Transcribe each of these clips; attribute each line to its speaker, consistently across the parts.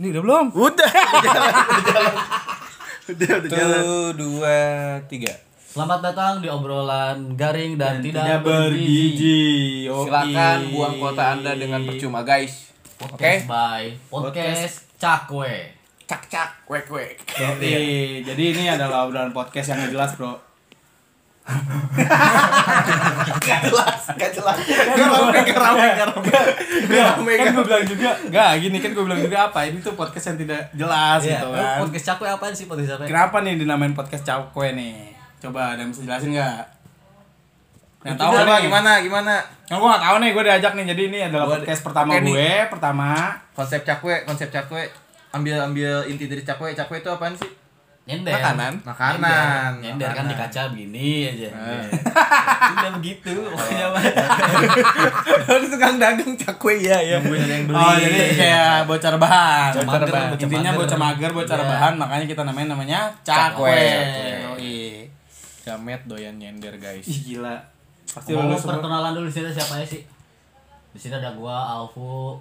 Speaker 1: Ini udah belum?
Speaker 2: Udah. udah jalan, udah jalan. Udah, udah jalan.
Speaker 1: Satu, dua, tiga.
Speaker 3: Selamat datang di obrolan garing dan, tidak,
Speaker 4: Tidak
Speaker 3: bergigi.
Speaker 4: bergigi. Yoi.
Speaker 1: Silakan buang kuota Anda dengan percuma, guys.
Speaker 3: Podcast
Speaker 1: Oke.
Speaker 3: by podcast Cakwe.
Speaker 1: Cak cak, wek wek. Iya.
Speaker 4: Yoi. Iya, Jadi ini adalah obrolan podcast yang nggak jelas, Bro.
Speaker 2: Gak jelas, gak jelas. Gak rame, gak rame, gak rame. Gak rame,
Speaker 4: kan
Speaker 2: gak
Speaker 4: gue bilang juga, enggak gini kan gue bilang juga apa? Ini tuh podcast yang tidak jelas
Speaker 3: Iya,
Speaker 4: gitu kan.
Speaker 3: Podcast Cakwe apaan sih podcast Cakwe?
Speaker 4: Kenapa nih dinamain podcast cakwe nih? Coba ada yang bisa jelasin nggak? Yang tahu
Speaker 2: Coba
Speaker 4: nih.
Speaker 2: gimana, gimana?
Speaker 4: Yang gue nggak tahu nih, gue diajak nih. Jadi ini adalah
Speaker 2: Gua-
Speaker 4: podcast pertama
Speaker 2: Oke, nih.
Speaker 4: gue, pertama.
Speaker 2: Konsep cakwe, konsep cakwe. Ambil ambil inti dari cakwe. Cakwe itu apaan sih?
Speaker 3: Nyender.
Speaker 1: Makanan.
Speaker 2: Makanan.
Speaker 3: Nyender, Nyender kan di
Speaker 2: Makanan.
Speaker 3: kaca begini
Speaker 4: Eh.
Speaker 3: aja. Udah begitu
Speaker 4: Oh.
Speaker 3: pokoknya. mah.
Speaker 2: Harus tukang dagang cakwe ya, ya.
Speaker 3: Nungguin ada yang beli.
Speaker 4: iya, Oh, jadi kayak bocor bahan.
Speaker 3: Bocor
Speaker 4: Bocor
Speaker 3: bahan.
Speaker 4: bahan. Intinya bocor mager, bocor
Speaker 3: Iya.
Speaker 4: bahan, makanya kita namain namanya cakwe.
Speaker 2: Cakwe.
Speaker 4: Yoi.
Speaker 1: Jamet doyan nyender, guys.
Speaker 4: Ih, gila. Pasti
Speaker 3: Mau
Speaker 4: lu semua.
Speaker 3: perkenalan dulu di sini siapa ya sih? Di sini ada gua Alfu.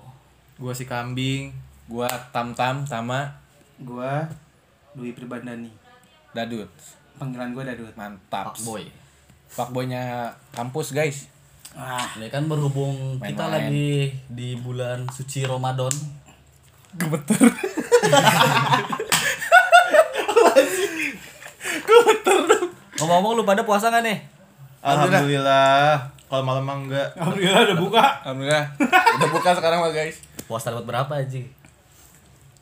Speaker 1: Gua si kambing, gua tam tam sama
Speaker 4: Gua Dwi Pribandani.
Speaker 1: Dadut.
Speaker 4: Panggilan gua Dadut.
Speaker 1: Mantap.
Speaker 3: Pak Boy.
Speaker 1: Fuckboynya kampus, guys.
Speaker 4: Ah,
Speaker 3: Ini kan berhubung kita
Speaker 1: Main-main.
Speaker 3: lagi di bulan suci Ramadan. Gemeter. Ngomong-ngomong lu pada puasa gak nih?
Speaker 5: Alhamdulillah. Kalau malam mah enggak.
Speaker 4: alhamdulillah udah buka.
Speaker 1: Alhamdulillah. Udah buka sekarang mah, guys.
Speaker 3: Puasa dapat berapa aja?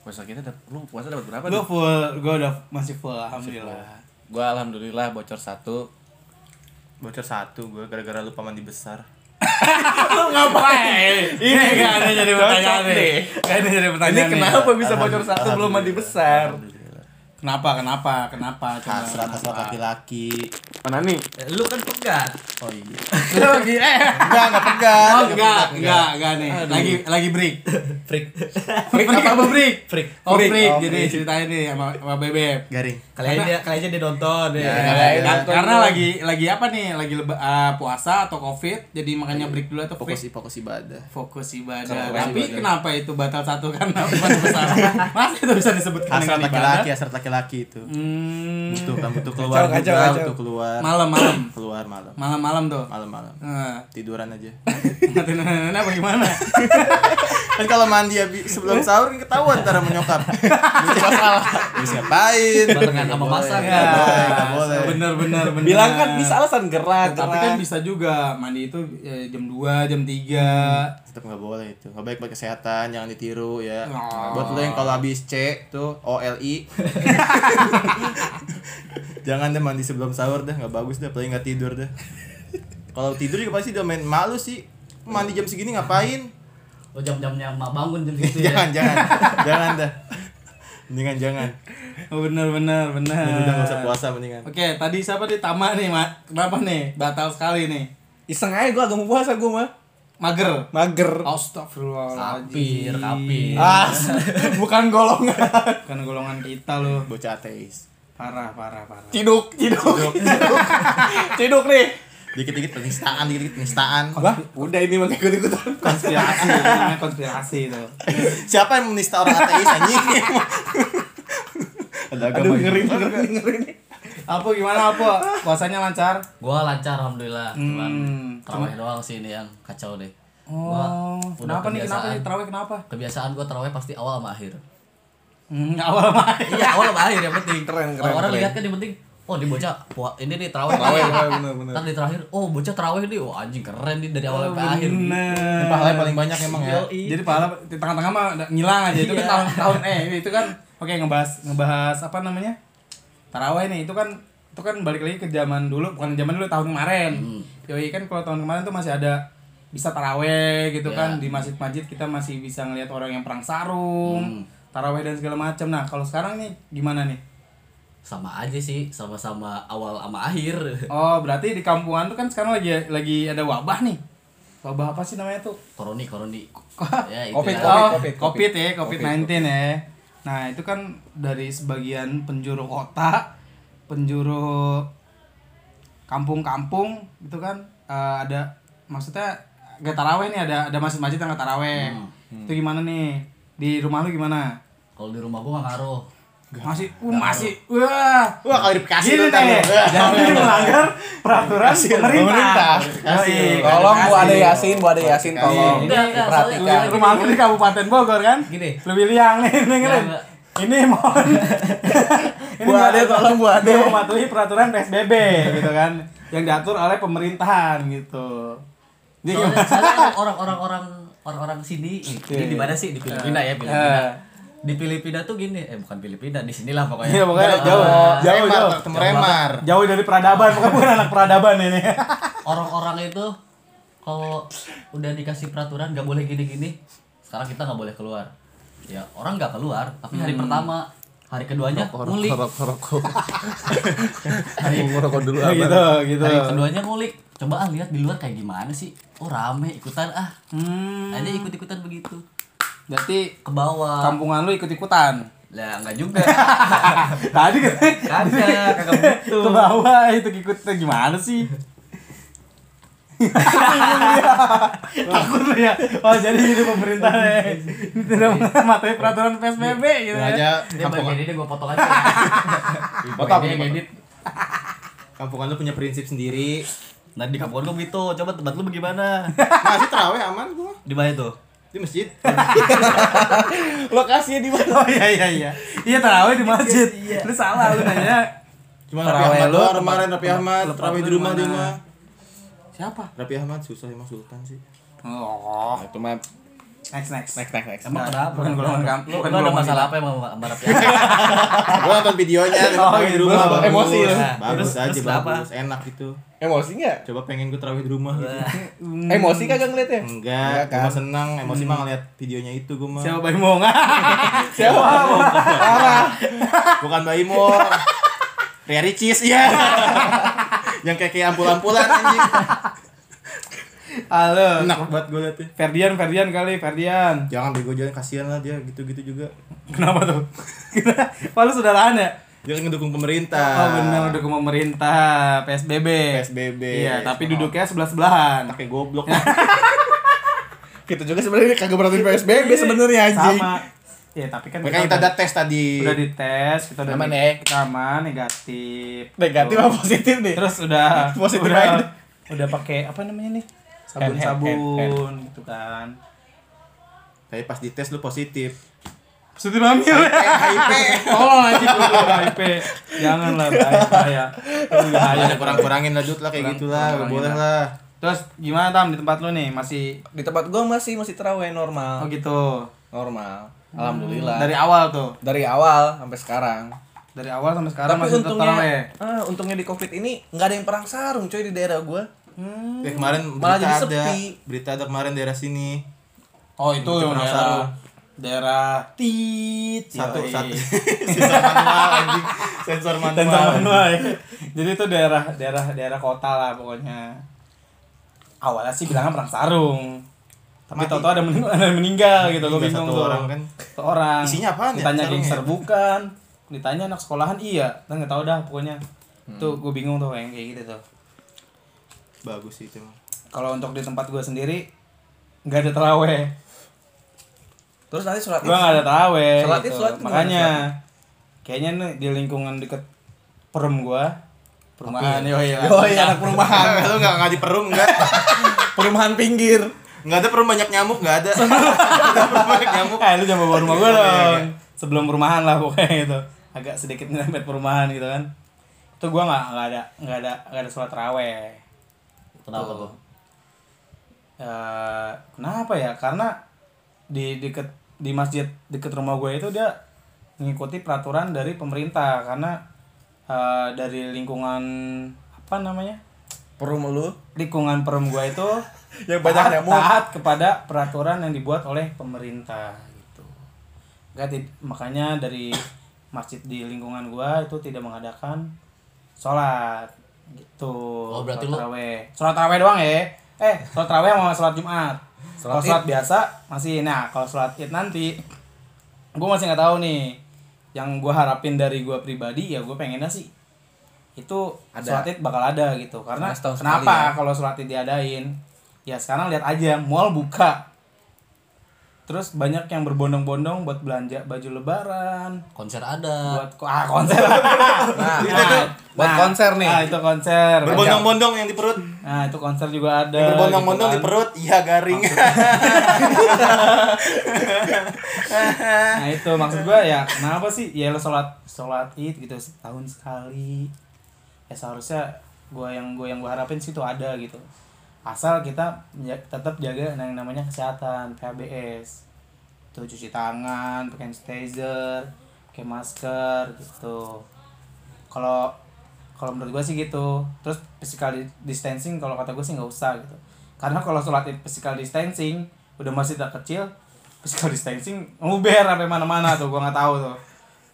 Speaker 1: Puasa kita dap- lu puasa dapat berapa?
Speaker 4: Lu
Speaker 1: Dut?
Speaker 4: full, gua udah masih full alhamdulillah.
Speaker 1: Gua alhamdulillah bocor satu.
Speaker 5: Bocor satu gue gara-gara lupa mandi besar.
Speaker 4: Ngapain? Ini gak ada jadi pertanyaan nih. Gak ada jadi pertanyaan. nih.
Speaker 1: bisa bocor satu belum mandi besar?
Speaker 4: Kenapa? Kenapa? Kenapa? Oh, Coba.
Speaker 5: Hasrat hasrat laki-laki.
Speaker 1: Mana nih?
Speaker 3: Eh, lu kan pegat.
Speaker 5: Oh iya.
Speaker 4: Enggak, enggak pegang. Oh, enggak, enggak, enggak nih. Lagi lagi break.
Speaker 3: Freak.
Speaker 4: Break apa apa break?
Speaker 3: Freak.
Speaker 4: Oh, break.
Speaker 5: Oh,
Speaker 4: Jadi
Speaker 5: break.
Speaker 4: ceritain nih sama, sama Bebek.
Speaker 5: Garing.
Speaker 3: Kali aja dia kali aja dia nonton ya.
Speaker 5: Ya,
Speaker 4: Karena-
Speaker 5: ya,
Speaker 4: karena- Karena lagi lagi apa nih? Lagi leba- eh, puasa atau Covid, jadi makanya break dulu atau
Speaker 5: Fokus
Speaker 4: break?
Speaker 5: fokus ibadah.
Speaker 4: Fokus
Speaker 1: Fokus
Speaker 4: ibadah. Tapi
Speaker 1: ibadah.
Speaker 4: kenapa itu batal satu karena bukan besar? Masih itu bisa disebutkan
Speaker 5: Hasrat
Speaker 4: dengan ibadah?
Speaker 5: laki-laki, hasrat laki-laki itu.
Speaker 4: Hmm,
Speaker 5: Butuh kan butuh keluar
Speaker 1: Kacau, kacau,
Speaker 5: juga,
Speaker 1: kacau.
Speaker 5: butuh keluar.
Speaker 4: malam-malam.
Speaker 5: Keluar malam.
Speaker 4: Malam-malam tuh.
Speaker 5: Malam-malam.
Speaker 4: Heeh.
Speaker 5: Tiduran aja.
Speaker 4: Ngatain nenek-nenek apa gimana?
Speaker 5: kan kalau mandi habis sebelum sahur kan ketahuan cara menyokap. Bisa salah. Bisa ngapain?
Speaker 3: Barengan sama
Speaker 5: Nggak
Speaker 3: masak,
Speaker 5: boleh,
Speaker 3: ya.
Speaker 5: nggak boleh, nggak boleh.
Speaker 4: Nah, Bener bener bener.
Speaker 1: Bilang kan bisa alasan gerak,
Speaker 4: Tapi kan bisa juga mandi itu eh, jam 2, jam 3.
Speaker 5: tetap nggak boleh itu nggak baik buat kesehatan jangan ditiru ya
Speaker 4: Oh.
Speaker 5: buat lo yang kalau habis C tuh OLI jangan deh mandi sebelum sahur deh nggak bagus deh paling nggak tidur deh kalau tidur juga pasti udah main malu sih mandi jam segini ngapain
Speaker 3: Lu Oh, jam-jamnya emak bangun jam gitu ya.
Speaker 5: jangan jangan jangan dah mendingan jangan
Speaker 1: Hmm.
Speaker 4: Oh, bener bener bener.
Speaker 5: Mending udah nggak usah puasa mendingan
Speaker 4: Oke, tadi siapa di Tama nih, Mak? Kenapa nih? Batal sekali nih.
Speaker 1: Iseng aja gua agak mau puasa gua mah.
Speaker 4: Mager.
Speaker 1: Mager.
Speaker 3: Kapir,
Speaker 4: Astagfirullahaladzim.
Speaker 3: kapir.
Speaker 4: Ah,
Speaker 1: Bukan golongan.
Speaker 4: bukan Kan golongan kita loh.
Speaker 5: bocah ateis
Speaker 4: Parah, parah, parah.
Speaker 1: Ciduk, ciduk. Ciduk nih.
Speaker 5: dikit-dikit penistaan dikit-dikit penistaan
Speaker 1: Wah, udah ini mah ikut-ikutan.
Speaker 4: Konspirasi, namanya konspirasi itu.
Speaker 5: siapa yang menista orang ateis anjing ada agama
Speaker 4: gitu.
Speaker 1: Aduh, ngeri,
Speaker 5: ini.
Speaker 1: ngeri, ngeri.
Speaker 4: Apa gimana apa? Puasanya lancar?
Speaker 3: Gua lancar alhamdulillah. Cuman
Speaker 4: Hmm.
Speaker 3: terawih doang sih ini yang kacau deh.
Speaker 4: Oh,
Speaker 3: udah
Speaker 4: kenapa nih? Kenapa nih?
Speaker 3: kebiasaan.
Speaker 4: Terawih kenapa?
Speaker 3: Kebiasaan gua terawih pasti awal sama akhir.
Speaker 4: Hmm, awal main.
Speaker 3: Iya awal sama akhir yang penting.
Speaker 1: Keren, keren,
Speaker 3: Orang-orang
Speaker 1: keren.
Speaker 3: lihat kan yang penting. Oh ini bocah, wah, ini nih terawih.
Speaker 1: Terawih, terawih, bener, bener.
Speaker 3: Ntar di terakhir, oh bocah terawih nih, wah anjing keren nih dari awal sampai akhir.
Speaker 4: Oh,
Speaker 3: gitu.
Speaker 4: Bener.
Speaker 5: pahalanya paling banyak emang ya
Speaker 3: Yoi.
Speaker 4: Jadi pahala di tengah-tengah mah udah ngilang aja. Itu kan
Speaker 3: Iya.
Speaker 4: tahun tahun eh itu kan oke ngebahas ngebahas apa namanya? Taraweh nih itu kan itu kan balik lagi ke zaman dulu bukan zaman dulu tahun kemarin.
Speaker 3: Hmm.
Speaker 4: Yoi kan kalau tahun kemarin tuh masih ada bisa taraweh gitu
Speaker 3: Iya.
Speaker 4: kan di masjid-masjid kita masih bisa ngelihat orang yang perang
Speaker 3: Hmm.
Speaker 4: sarung, taraweh dan segala macam. Nah, kalau sekarang nih gimana nih?
Speaker 3: Sama aja sih, sama-sama awal sama akhir.
Speaker 4: Oh, berarti di kampungan tuh kan sekarang lagi lagi ada wabah nih. Wabah apa sih namanya tuh?
Speaker 3: Koroni, koroni. ya, itu
Speaker 1: Covid,
Speaker 3: ya.
Speaker 4: Oh, COVID,
Speaker 1: Covid, Covid.
Speaker 4: ya, COVID-19 ya. Nah, itu kan dari sebagian penjuru kota, penjuru kampung-kampung itu kan eh, ada maksudnya
Speaker 1: Hmm,
Speaker 4: gak taraweh nih ada ada masjid-masjid yang gak taraweh. Itu gimana nih? Di rumah lu gimana?
Speaker 3: Kalau di rumah gua nggak ngaruh.
Speaker 4: masih uh, masih wah
Speaker 5: Wah, klarifikasi
Speaker 4: Gini
Speaker 5: lo tadi.
Speaker 4: deh, jangan melanggar peraturan pemerintah.
Speaker 5: Kasih.
Speaker 4: Yoi,
Speaker 1: Tolong
Speaker 4: kasih.
Speaker 1: Bu Ade Yasin, Bu Ade Yasin
Speaker 5: Kasih.
Speaker 1: tolong
Speaker 3: Enggak, enggak, soalnya-
Speaker 1: diperhatikan.
Speaker 4: Ini Rumah aku di Kabupaten Bogor kan?
Speaker 6: Gini.
Speaker 4: Lebih liang nih, dengerin.
Speaker 3: Enggak, enggak.
Speaker 4: Ini mohon.
Speaker 1: Bu Ade tolong Bu Ade.
Speaker 4: Dia mematuhi peraturan PSBB gitu kan, yang diatur oleh pemerintahan gitu. Jadi
Speaker 3: Soalnya,
Speaker 4: gimana?
Speaker 3: soalnya orang-orang orang orang-orang sini, ini di mana sih di Filipina ya, Filipina.
Speaker 4: Eh.
Speaker 3: Di Filipina tuh gini, eh bukan Filipina, di sinilah pokoknya.
Speaker 4: Iya pokoknya jauh, jauh,
Speaker 5: Remar,
Speaker 4: jauh,
Speaker 5: ketemu Remar.
Speaker 4: jauh dari peradaban, bukan bukan anak peradaban ini.
Speaker 3: orang-orang itu kalau udah dikasih peraturan nggak boleh gini-gini sekarang kita nggak boleh keluar ya orang nggak keluar
Speaker 4: Hmm.
Speaker 3: tapi hari pertama hari keduanya ngulik hari,
Speaker 1: Ngerokok dulu
Speaker 4: Ya, gitu, gitu.
Speaker 3: hari keduanya ngulik coba ah lihat di luar kayak gimana sih oh rame ikutan ah
Speaker 4: Hmm,
Speaker 3: aja ikut-ikutan begitu
Speaker 4: berarti
Speaker 3: ke bawah
Speaker 4: kampungan lu ikut-ikutan.
Speaker 3: lah nggak juga
Speaker 4: Tadi kan
Speaker 3: kagak kagak begitu
Speaker 4: ke bawah itu ikut gimana sih? Takut lu ya. Oh jadi ini pemerintah ya. Tidak mematuhi peraturan PSBB gitu ya.
Speaker 5: Aja
Speaker 3: ini
Speaker 5: kampungan.
Speaker 3: bagian ini gue potong aja
Speaker 5: Potong,
Speaker 3: potong ini yang
Speaker 5: potong.
Speaker 3: edit
Speaker 5: Kampungan lu punya prinsip sendiri.
Speaker 3: nah di kampung gue begitu coba tempat lu bagaimana
Speaker 5: Masih terawih aman gua
Speaker 3: di mana tuh
Speaker 5: di masjid.
Speaker 1: Lokasinya di
Speaker 4: Oh
Speaker 1: mana?
Speaker 4: iya iya iya. Iya tarawih di masjid. Lu salah lu nanya.
Speaker 5: Cuma Rapi
Speaker 1: Terawih
Speaker 5: Ahmad
Speaker 1: lu,
Speaker 5: doang
Speaker 1: tempat-
Speaker 5: kemarin Rapi Ahmad,
Speaker 4: tempat
Speaker 5: terawih
Speaker 4: lu
Speaker 5: di rumah
Speaker 4: di
Speaker 5: di
Speaker 4: mana?
Speaker 5: rumah.
Speaker 4: Siapa?
Speaker 5: Rapi Ahmad susah emang sultan sih.
Speaker 4: Oh.
Speaker 1: Itu mah
Speaker 4: Next next.
Speaker 1: next next next.
Speaker 3: Emang
Speaker 4: Nah,
Speaker 3: kenapa?
Speaker 4: Bukan golongan kamp-
Speaker 3: Lu,
Speaker 4: bukan
Speaker 3: lu ada
Speaker 4: golongan
Speaker 3: masalah apa emang sama Mbak Rafiq?
Speaker 5: Gua nonton videonya dia
Speaker 4: Oh,
Speaker 5: terawih di
Speaker 4: gitu.
Speaker 5: rumah bagus.
Speaker 1: Emosi ya.
Speaker 5: Nah, Bagus
Speaker 3: Terus-
Speaker 5: aja
Speaker 3: terus kenapa?
Speaker 5: bagus, enak gitu.
Speaker 1: Emosi nggak? Eh,
Speaker 5: Coba pengen gua terawih di rumah gitu.
Speaker 4: Hmm.
Speaker 1: Emosi kagak ngeliatnya?
Speaker 5: Enggak,
Speaker 1: kan?
Speaker 5: gua mah senang emosi mah ngeliat videonya itu gua mah.
Speaker 4: Siapa Bayi Mong?
Speaker 1: Siapa?
Speaker 5: Bukan Mbak Imo. Ria Ricis, iya. Yang kayak kayak ampul-ampulan anjing.
Speaker 4: Halo.
Speaker 5: Enak banget gua liatnya.
Speaker 4: Ferdian Ferdian kali Ferdian.
Speaker 5: Jangan bego jangan kasihan lah dia gitu-gitu juga.
Speaker 4: Kenapa tuh? Wah lu saudaraan ya?
Speaker 5: Dia kan ngedukung pemerintah.
Speaker 4: Oh benar udah ke pemerintah PSBB.
Speaker 5: PSBB.
Speaker 4: Iya, tapi duduknya sebelah-sebelahan.
Speaker 5: Pakai goblok.
Speaker 1: Kita juga sebenarnya kagak berarti PSBB sebenarnya anjing.
Speaker 4: Sama. Ya, tapi kan
Speaker 5: Makanya kita
Speaker 4: udah-
Speaker 5: ada tes tadi.
Speaker 4: udah dites kita udah
Speaker 1: Aman
Speaker 4: ne-
Speaker 1: ya?
Speaker 4: kita aman negatif
Speaker 1: Negatif
Speaker 4: Tuh.
Speaker 1: apa positif nih?
Speaker 4: terus udah
Speaker 1: Positif
Speaker 4: udah
Speaker 1: aja.
Speaker 4: udah pakai apa namanya nih
Speaker 1: Hand, hand, hand,
Speaker 4: sabun-sabun gitu kan
Speaker 5: Tapi pas dites lu positif.
Speaker 4: positif
Speaker 1: ya.
Speaker 4: hamil
Speaker 5: HIV.
Speaker 4: tolong aja dulu HIP janganlah bahaya Ini bahaya
Speaker 5: Ada kurang-kurangin lah Jut lah
Speaker 4: Kurang-
Speaker 5: kayak gitulah,
Speaker 4: kurang-kurangin
Speaker 5: boleh lah.
Speaker 4: terus gimana tam di tempat lu nih masih
Speaker 1: Di tempat gua masih masih
Speaker 4: oh
Speaker 1: terawih normal.
Speaker 4: gitu
Speaker 1: Normal.
Speaker 4: Hmm.
Speaker 1: Alhamdulillah.
Speaker 4: dari awal tuh
Speaker 1: dari awal sampai sekarang.
Speaker 4: dari awal sampai sekarang
Speaker 1: Tapi
Speaker 4: Kan masih tetap
Speaker 1: untungnya,
Speaker 4: taraweh
Speaker 1: ah, untungnya di covid ini nggak ada yang perang sarung coy di daerah gua.
Speaker 5: Kayak Eh, kemarin berita
Speaker 1: Malah jadi
Speaker 5: ada,
Speaker 1: sepi.
Speaker 5: berita ada kemarin daerah sini.
Speaker 4: oh itu yang
Speaker 5: perang
Speaker 4: daerah
Speaker 5: sarung.
Speaker 4: daerah tit
Speaker 5: Satu
Speaker 4: yoi.
Speaker 5: satu. Sensor manual anjing. Sensor manual.
Speaker 4: Tentang manual ya. Jadi itu daerah daerah daerah kota lah pokoknya. Awalnya sih bilangnya perang sarung. Tapi
Speaker 5: Mati.
Speaker 4: tau-tau ada, mening ada yang meninggal gitu, gue
Speaker 5: Meninggal
Speaker 4: bingung
Speaker 5: satu
Speaker 4: tuh.
Speaker 5: orang kan.
Speaker 4: Satu orang.
Speaker 5: Isinya apaan ya
Speaker 4: Ditanya geng
Speaker 5: sarungnya?
Speaker 4: serbukan, ditanya anak sekolahan iya, dan nggak tahu dah pokoknya.
Speaker 5: Hmm.
Speaker 4: Tuh gue bingung tuh yang kayak gitu tuh.
Speaker 5: Bagus sih itu. emang.
Speaker 4: Kalau untuk di tempat gue sendiri nggak ada teraweh,
Speaker 1: Terus nanti surat
Speaker 4: gue nggak ada teraweh.
Speaker 1: Sholat id, sholat id nggak ada
Speaker 4: Makanya
Speaker 1: sholat
Speaker 4: kayaknya nih di lingkungan deket perem gue perumahan yoi lah.
Speaker 1: Yoi, anak perumahan.
Speaker 5: Lu enggak enggak di perum enggak?
Speaker 1: perumahan pinggir.
Speaker 5: Enggak ada perum banyak nyamuk enggak ada. Nggak ada perum banyak nyamuk.
Speaker 4: Eh lu jangan bawa rumah gue
Speaker 5: Iya, iya,
Speaker 4: dong.
Speaker 5: iya.
Speaker 4: Sebelum perumahan lah pokoknya gitu. Agak sedikit nyerempet perumahan gitu kan. Itu gue nggak nggak ada nggak ada nggak ada sholat raweh.
Speaker 3: Kenapa tuh?
Speaker 4: Eh, kenapa ya? Karena di deket di masjid deket rumah gue itu dia mengikuti peraturan dari pemerintah karena eh, dari lingkungan apa namanya
Speaker 1: Perum lu
Speaker 4: lingkungan perem gue itu
Speaker 1: Yang banyak
Speaker 4: taat,
Speaker 1: nyamuk.
Speaker 4: taat kepada peraturan yang dibuat oleh pemerintah gitu. Nggak tid- makanya dari masjid di lingkungan gue itu tidak mengadakan sholat gitu.
Speaker 3: Oh, berarti
Speaker 4: sholat
Speaker 3: lu-
Speaker 4: taraweh. Sholat taraweh doang ya? Eh, sholat taraweh sama sholat Jumat. Kalau
Speaker 1: Sholat
Speaker 4: sholat biasa masih nah, kalau sholat Id nanti gue masih nggak tahu nih. Yang gue harapin dari gue pribadi ya gue pengennya sih itu
Speaker 1: Ada.
Speaker 4: sholat Id bakal ada gitu karena
Speaker 1: Karena setahun
Speaker 4: kenapa
Speaker 1: sekali ya.
Speaker 4: kalau sholat id diadain ya sekarang lihat aja mall buka Terus banyak yang berbondong-bondong buat belanja baju lebaran,
Speaker 3: konser ada
Speaker 4: buat ko- ah, konser. nah, nah,
Speaker 7: buat konser nih.
Speaker 4: Ah, itu konser.
Speaker 5: Berbondong-bondong yang di perut.
Speaker 4: Nah, itu konser juga ada.
Speaker 5: Yang berbondong-bondong di
Speaker 4: gitu kan.
Speaker 5: perut, iya garing.
Speaker 4: Nah, itu maksud gua ya, kenapa sih? Ya lo sholat sholat Id gitu setahun sekali. Ya seharusnya gua yang gua yang gua harapin sih itu ada gitu. Asal kita menja- tetap jaga yang namanya kesehatan, PHBS. Tuh cuci tangan, pakai hand sanitizer, pakai masker gitu. Kalau kalau menurut gua sih gitu. Terus physical distancing kalau kata gua sih nggak usah gitu. Karena kalau sholat Id physical distancing udah masih tak kecil, physical distancing nguber sampai mana-mana tuh gua nggak tahu tuh.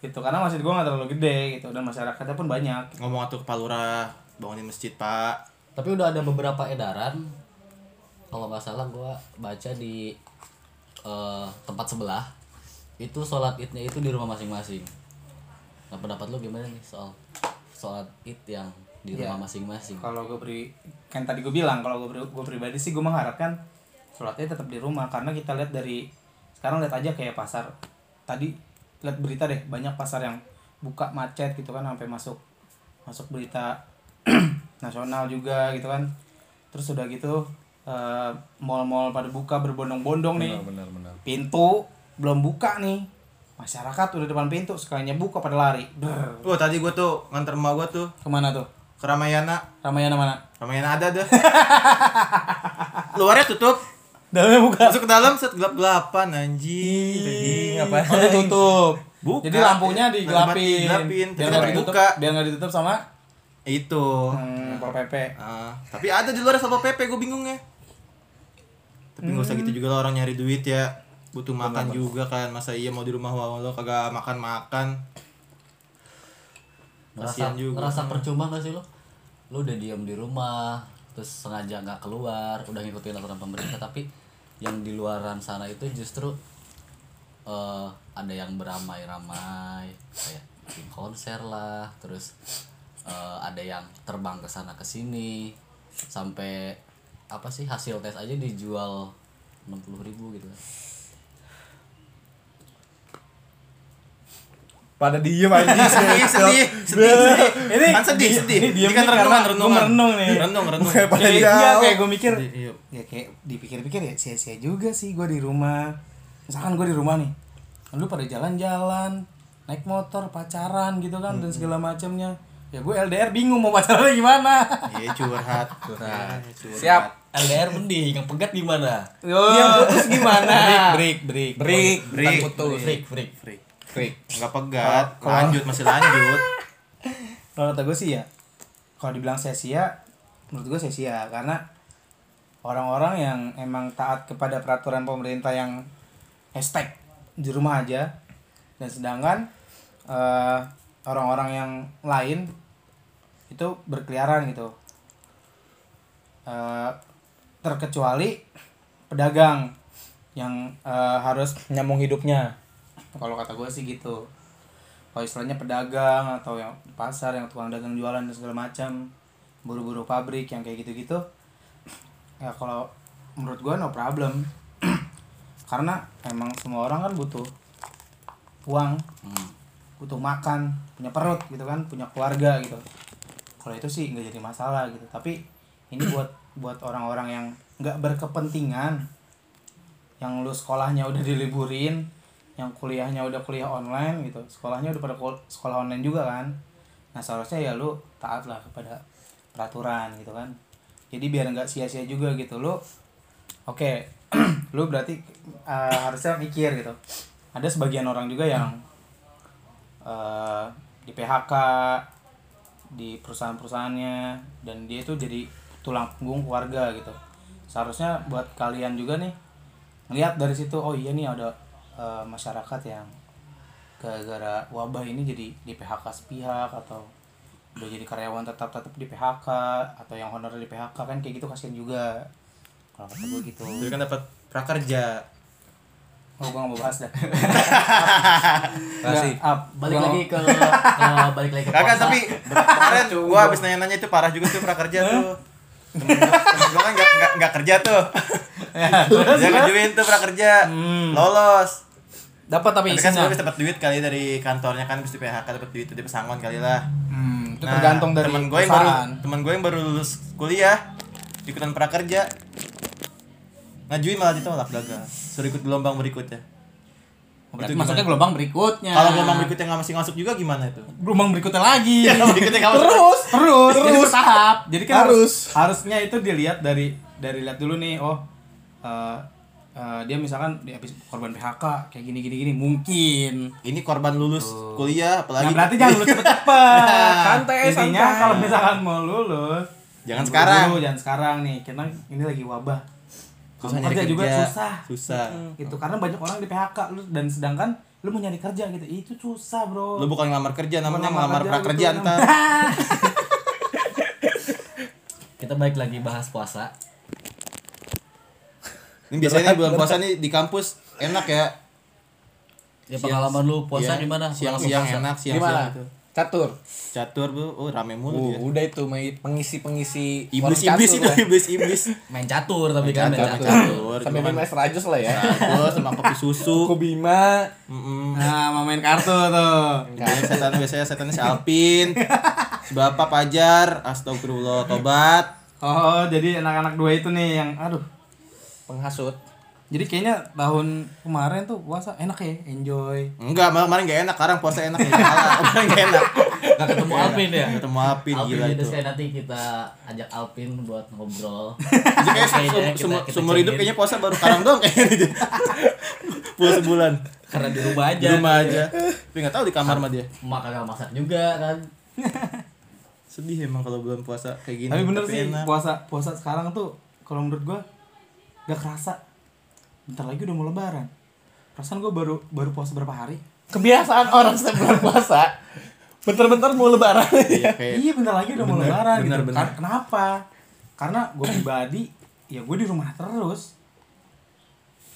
Speaker 4: Gitu karena masjid gua nggak terlalu gede gitu dan masyarakatnya pun banyak.
Speaker 5: Ngomong atuh ke Pak Lurah, bangunin masjid, Pak.
Speaker 3: tapi udah ada beberapa edaran kalau nggak salah gue baca di eh, tempat sebelah itu sholat idnya itu di rumah masing-masing nah pendapat lu gimana nih soal sholat id yang di
Speaker 4: Iya.
Speaker 3: rumah masing-masing
Speaker 4: Kalau gue pri kan tadi gue bilang kalau gue pribadi sih gue mengharapkan sholatnya tetap di rumah karena kita lihat dari sekarang lihat aja kayak pasar tadi lihat berita deh banyak pasar yang buka macet gitu kan sampai masuk masuk berita nasional juga gitu kan terus udah gitu eh, mall-mall pada buka berbondong-bondong nih
Speaker 7: benar benar
Speaker 4: pintu belum buka nih masyarakat udah depan pintu sekalinya buka pada lari Brr.
Speaker 5: Wah, tadi gua tuh nganter emak gua tuh
Speaker 4: kemana tuh
Speaker 5: ke Ramayana.
Speaker 4: Ramayana mana
Speaker 5: Ramayana ada deh. Luarnya tutup,
Speaker 4: dalamnya buka
Speaker 5: masuk ke dalam set gelap-gelapan anjing.
Speaker 7: ngapain
Speaker 4: Oh, ditutup.
Speaker 5: Buka.
Speaker 4: Jadi lampunya
Speaker 5: Lampu
Speaker 4: digelapin.
Speaker 5: digelapin,
Speaker 4: Biar
Speaker 5: terus
Speaker 4: nggak
Speaker 5: baru
Speaker 4: ditutup,
Speaker 5: buka.
Speaker 4: biar nggak ditutup sama
Speaker 5: Itu.
Speaker 4: hmm, Pol PP.
Speaker 5: Ah, tapi ada di luar Satpol PP, gue bingung ya. Tapi
Speaker 4: Hmm.
Speaker 5: nggak usah gitu juga lah orang nyari duit ya. Butuh makan juga kan. Masa iya mau di rumah wawa lo kagak makan-makan.
Speaker 3: ngerasa
Speaker 5: Kasian juga.
Speaker 3: ngerasa percuma gak sih lo lo udah diem di rumah terus sengaja nggak keluar udah ngikutin aturan pemerintah tapi yang di luaran sana itu justru eh, ada yang beramai-ramai kayak bikin konser lah terus eh, ada yang terbang ke sana ke sini sampai apa sih hasil tes aja dijual 60.000 ribu gitu kan.
Speaker 7: pada diem aja
Speaker 5: Iya, sedih, sedih, sedih,
Speaker 4: Iya, Ini
Speaker 5: Kan sedih, sedih.
Speaker 4: ini diem
Speaker 5: Ini kan
Speaker 4: nih
Speaker 5: renungan,
Speaker 4: karena
Speaker 5: renungan.
Speaker 4: gua merenung nih.
Speaker 5: Renung, renung.
Speaker 4: Iya,
Speaker 7: Pada
Speaker 4: iya,
Speaker 7: jauh.
Speaker 4: kayak gue mikir.
Speaker 5: Iya.
Speaker 4: Ya kayak dipikir-pikir ya sia-sia juga sih gue di rumah. Misalkan gue di rumah nih. Lu pada jalan-jalan, naik motor, pacaran gitu kan dan segala macamnya. Ya gue LDR bingung mau pacarannya gimana.
Speaker 5: Iya, curhat. Curhat.
Speaker 7: siap
Speaker 3: LDR mending yang pegat gimana
Speaker 4: Yang putus gimana? Break, break, break.
Speaker 7: break
Speaker 5: Break.
Speaker 7: putus
Speaker 3: freak freak freak
Speaker 7: break
Speaker 5: Enggak pegat. Lanjut, masih lanjut.
Speaker 4: kalau kata gue sih ya kalau dibilang sia-sia menurut gue sia-sia karena orang-orang yang emang taat kepada peraturan pemerintah yang hashtag di rumah aja dan sedangkan eh, orang-orang yang lain itu berkeliaran gitu Eh, terkecuali pedagang yang eh, harus
Speaker 7: nyambung hidupnya
Speaker 4: kalau kata gue sih gitu kalau istilahnya pedagang atau yang di pasar yang tukang dagang jualan dan segala macam buru-buru pabrik yang kayak gitu-gitu ya kalau menurut gue no problem karena emang semua orang kan butuh uang
Speaker 3: Hmm.
Speaker 4: butuh makan punya perut gitu kan punya keluarga gitu kalau itu sih nggak jadi masalah gitu tapi ini buat buat orang-orang yang nggak berkepentingan yang lu sekolahnya udah diliburin yang kuliahnya udah kuliah online gitu sekolahnya udah pada kul- sekolah online juga kan nah seharusnya ya lu taatlah kepada peraturan gitu kan jadi biar nggak sia-sia juga gitu lu oke lu berarti eh, harusnya mikir gitu ada sebagian orang juga yang eh, di PHK di perusahaan-perusahaannya dan dia itu jadi tulang punggung keluarga gitu seharusnya buat kalian juga nih lihat dari situ oh iya nih ada eh, masyarakat yang gara-gara wabah ini jadi di PHK sepihak atau udah jadi karyawan tetap tetap di PHK atau yang honor di PHK kan kayak gitu kasihan juga kalau kata gue gitu
Speaker 5: Jadi kan dapat prakerja.
Speaker 4: oh gue gak mau bahas dah
Speaker 7: kasih
Speaker 4: Up.
Speaker 3: balik
Speaker 4: Gua-
Speaker 3: lagi ke, ke balik lagi ke
Speaker 5: Kagak
Speaker 3: puasa.
Speaker 5: tapi kemarin gua habis nanya-nanya itu parah juga tuh prakerja tuh. Temen gua, temen gua kan gak, nggak nggak kerja tuh. Dia ngajuin tuh pernah kerja, lolos.
Speaker 4: Dapat tapi
Speaker 5: Tapi kan
Speaker 4: isinya.
Speaker 5: sebenarnya dapat duit kali dari kantornya kan habis di PHK dapat duit dari pesangon kali lah.
Speaker 4: Hmm, itu
Speaker 5: Nah,
Speaker 4: tergantung dari
Speaker 5: temen gue yang baru
Speaker 4: perusahaan.
Speaker 5: temen gue yang baru lulus kuliah ikutan prakerja ngajuin malah ditolak gagal suruh ikut gelombang berikutnya
Speaker 4: Oh, Berarti masuknya gelombang berikutnya.
Speaker 5: kalau gelombang berikutnya nggak masih masuk juga gimana itu
Speaker 4: gelombang Iya, berikutnya lagi.
Speaker 5: berikutnya nggak masuk.
Speaker 4: terus, terus, terus bertahap. Jadi kan harus.
Speaker 1: Harus.
Speaker 4: harusnya itu dilihat dari dari lihat dulu nih, oh eh, eh, dia misalkan dia habis korban PHK kayak gini gini gini mungkin.
Speaker 5: ini korban lulus
Speaker 3: Oh.
Speaker 4: Nah,
Speaker 5: kuliah apalagi
Speaker 4: berarti jangan lulus cepet-cepet.
Speaker 1: Santai,
Speaker 4: Intinya
Speaker 1: santai.
Speaker 4: kalau misalkan mau lulus,
Speaker 5: Jangan
Speaker 4: buru-buru,
Speaker 5: sekarang.
Speaker 4: jangan sekarang nih. Karena ini lagi wabah. Susah
Speaker 5: susah nyari
Speaker 4: kerja
Speaker 5: kerja
Speaker 4: juga susah.
Speaker 5: susah
Speaker 4: Gitu. Karena banyak orang di PHK lu dan sedangkan lu mau nyari kerja gitu. Itu susah, Bro.
Speaker 5: lu bukan ngelamar kerja namanya
Speaker 4: Ngelamar
Speaker 5: ngelamar
Speaker 4: kerja, gitu. betul,
Speaker 5: prakerja entar
Speaker 3: Kita balik lagi bahas puasa.
Speaker 5: ini biasanya bulan puasa nih di kampus enak ya
Speaker 3: Ya pengalaman lu puasa
Speaker 5: Iya,
Speaker 3: gimana?
Speaker 5: siang-siang
Speaker 3: Pengalaman puasa. ya?
Speaker 5: enak
Speaker 4: Iya,
Speaker 5: siang-siang
Speaker 1: Gimana?
Speaker 5: gitu.
Speaker 1: Catur.
Speaker 5: catur bu oh rame mulu
Speaker 1: Uh,
Speaker 4: iya.
Speaker 5: dia
Speaker 1: udah itu main- pengisi-pengisi
Speaker 5: iblis-iblis
Speaker 1: warung
Speaker 5: itu
Speaker 1: catur lah.
Speaker 5: iblis-iblis
Speaker 3: Main catur tapi kan main
Speaker 5: Catur,
Speaker 3: catur.
Speaker 5: catur
Speaker 1: Sampai
Speaker 5: cuman-
Speaker 1: main Mas Rajus lah ya.
Speaker 5: Aku sama kopi susu.
Speaker 1: Kobima.
Speaker 5: Mm-mm.
Speaker 4: Nah, mau main kartu tuh.
Speaker 5: Biasanya Kan, setan biasanya setannya si Alpin. Si Bapak Pajar, astagfirullah tobat.
Speaker 4: Oh, jadi anak-anak dua itu nih yang aduh.
Speaker 1: Penghasut.
Speaker 4: Jadi kayaknya tahun kemarin tuh puasa enak ya, enjoy.
Speaker 5: Enggak, malah kemarin gak enak, sekarang puasa enak ya. Salah, kemarin gak enak.
Speaker 3: Gak ketemu Alvin ya?
Speaker 5: Ketemu Alpin
Speaker 3: Alvin gitu.
Speaker 5: gila
Speaker 3: itu
Speaker 5: itu.
Speaker 3: sekali nanti kita ajak Alvin buat ngobrol.
Speaker 5: Jadi kayak
Speaker 3: Kayaknya
Speaker 5: sum-
Speaker 3: kita-
Speaker 5: sum-
Speaker 3: kita
Speaker 5: sumur hidup
Speaker 3: jadiin
Speaker 5: kayaknya puasa baru sekarang dong kayaknya dia. Puasa sebulan.
Speaker 3: karena di rumah
Speaker 5: Di
Speaker 3: aja.
Speaker 5: rumah aja. Tapi gak tahu di kamar sama dia.
Speaker 3: Emak kagak masak juga kan.
Speaker 5: Sedih emang kalau bulan puasa kayak gini.
Speaker 4: Tapi bener sih
Speaker 5: enak.
Speaker 4: puasa puasa sekarang tuh kalau menurut gua gak kerasa. Bentar lagi udah mau lebaran. Perasaan gua baru baru puasa berapa hari?
Speaker 1: Kebiasaan orang sebelum puasa. Bentar-bentar mau lebaran.
Speaker 5: Iya, kayak
Speaker 4: Iya, bentar lagi udah mau
Speaker 5: Bener,
Speaker 4: lebaran
Speaker 5: bener,
Speaker 4: gitu.
Speaker 5: bener.
Speaker 4: Kan- Kenapa? Karena gua pribadi ya gua di rumah terus.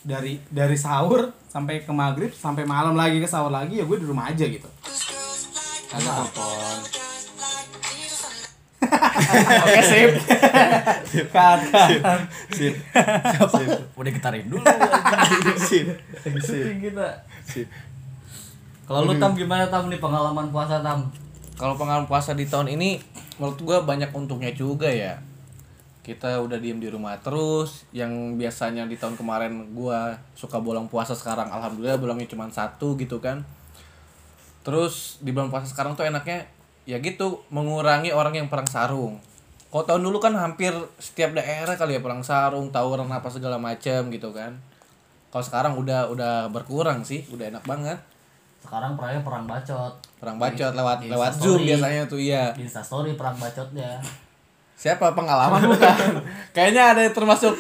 Speaker 4: Dari dari sahur sampai ke maghrib sampai malam lagi ke sahur lagi ya gue di rumah aja gitu. Nah.
Speaker 3: Kagak telepon.
Speaker 1: Oke, sip.
Speaker 4: Kata.
Speaker 5: sip.
Speaker 3: Udah getarin dulu.
Speaker 5: Sip. Sip.
Speaker 3: Syuting kita.
Speaker 5: Sip.
Speaker 3: Kalau lu tam gimana tam nih pengalaman puasa tam?
Speaker 1: Kalau pengalaman puasa di tahun ini menurut gua banyak untungnya juga ya. Kita udah diem di rumah terus, yang biasanya di tahun kemarin gua suka bolong puasa sekarang alhamdulillah bolongnya cuma satu gitu kan. Terus di bulan puasa sekarang tuh enaknya ya gitu mengurangi orang yang perang sarung. Kalau tahun dulu kan hampir setiap daerah kali ya perang sarung, tawuran apa segala macem gitu kan. Kalau sekarang udah udah berkurang sih, udah enak banget.
Speaker 3: Sekarang perangnya perang bacot.
Speaker 1: Perang bacot lewat
Speaker 3: Di
Speaker 1: lewat
Speaker 3: Instastory.
Speaker 1: Zoom biasanya tuh iya.
Speaker 3: Di Instastory perang bacotnya.
Speaker 1: Siapa pengalaman bukan? Kayaknya ada yang termasuk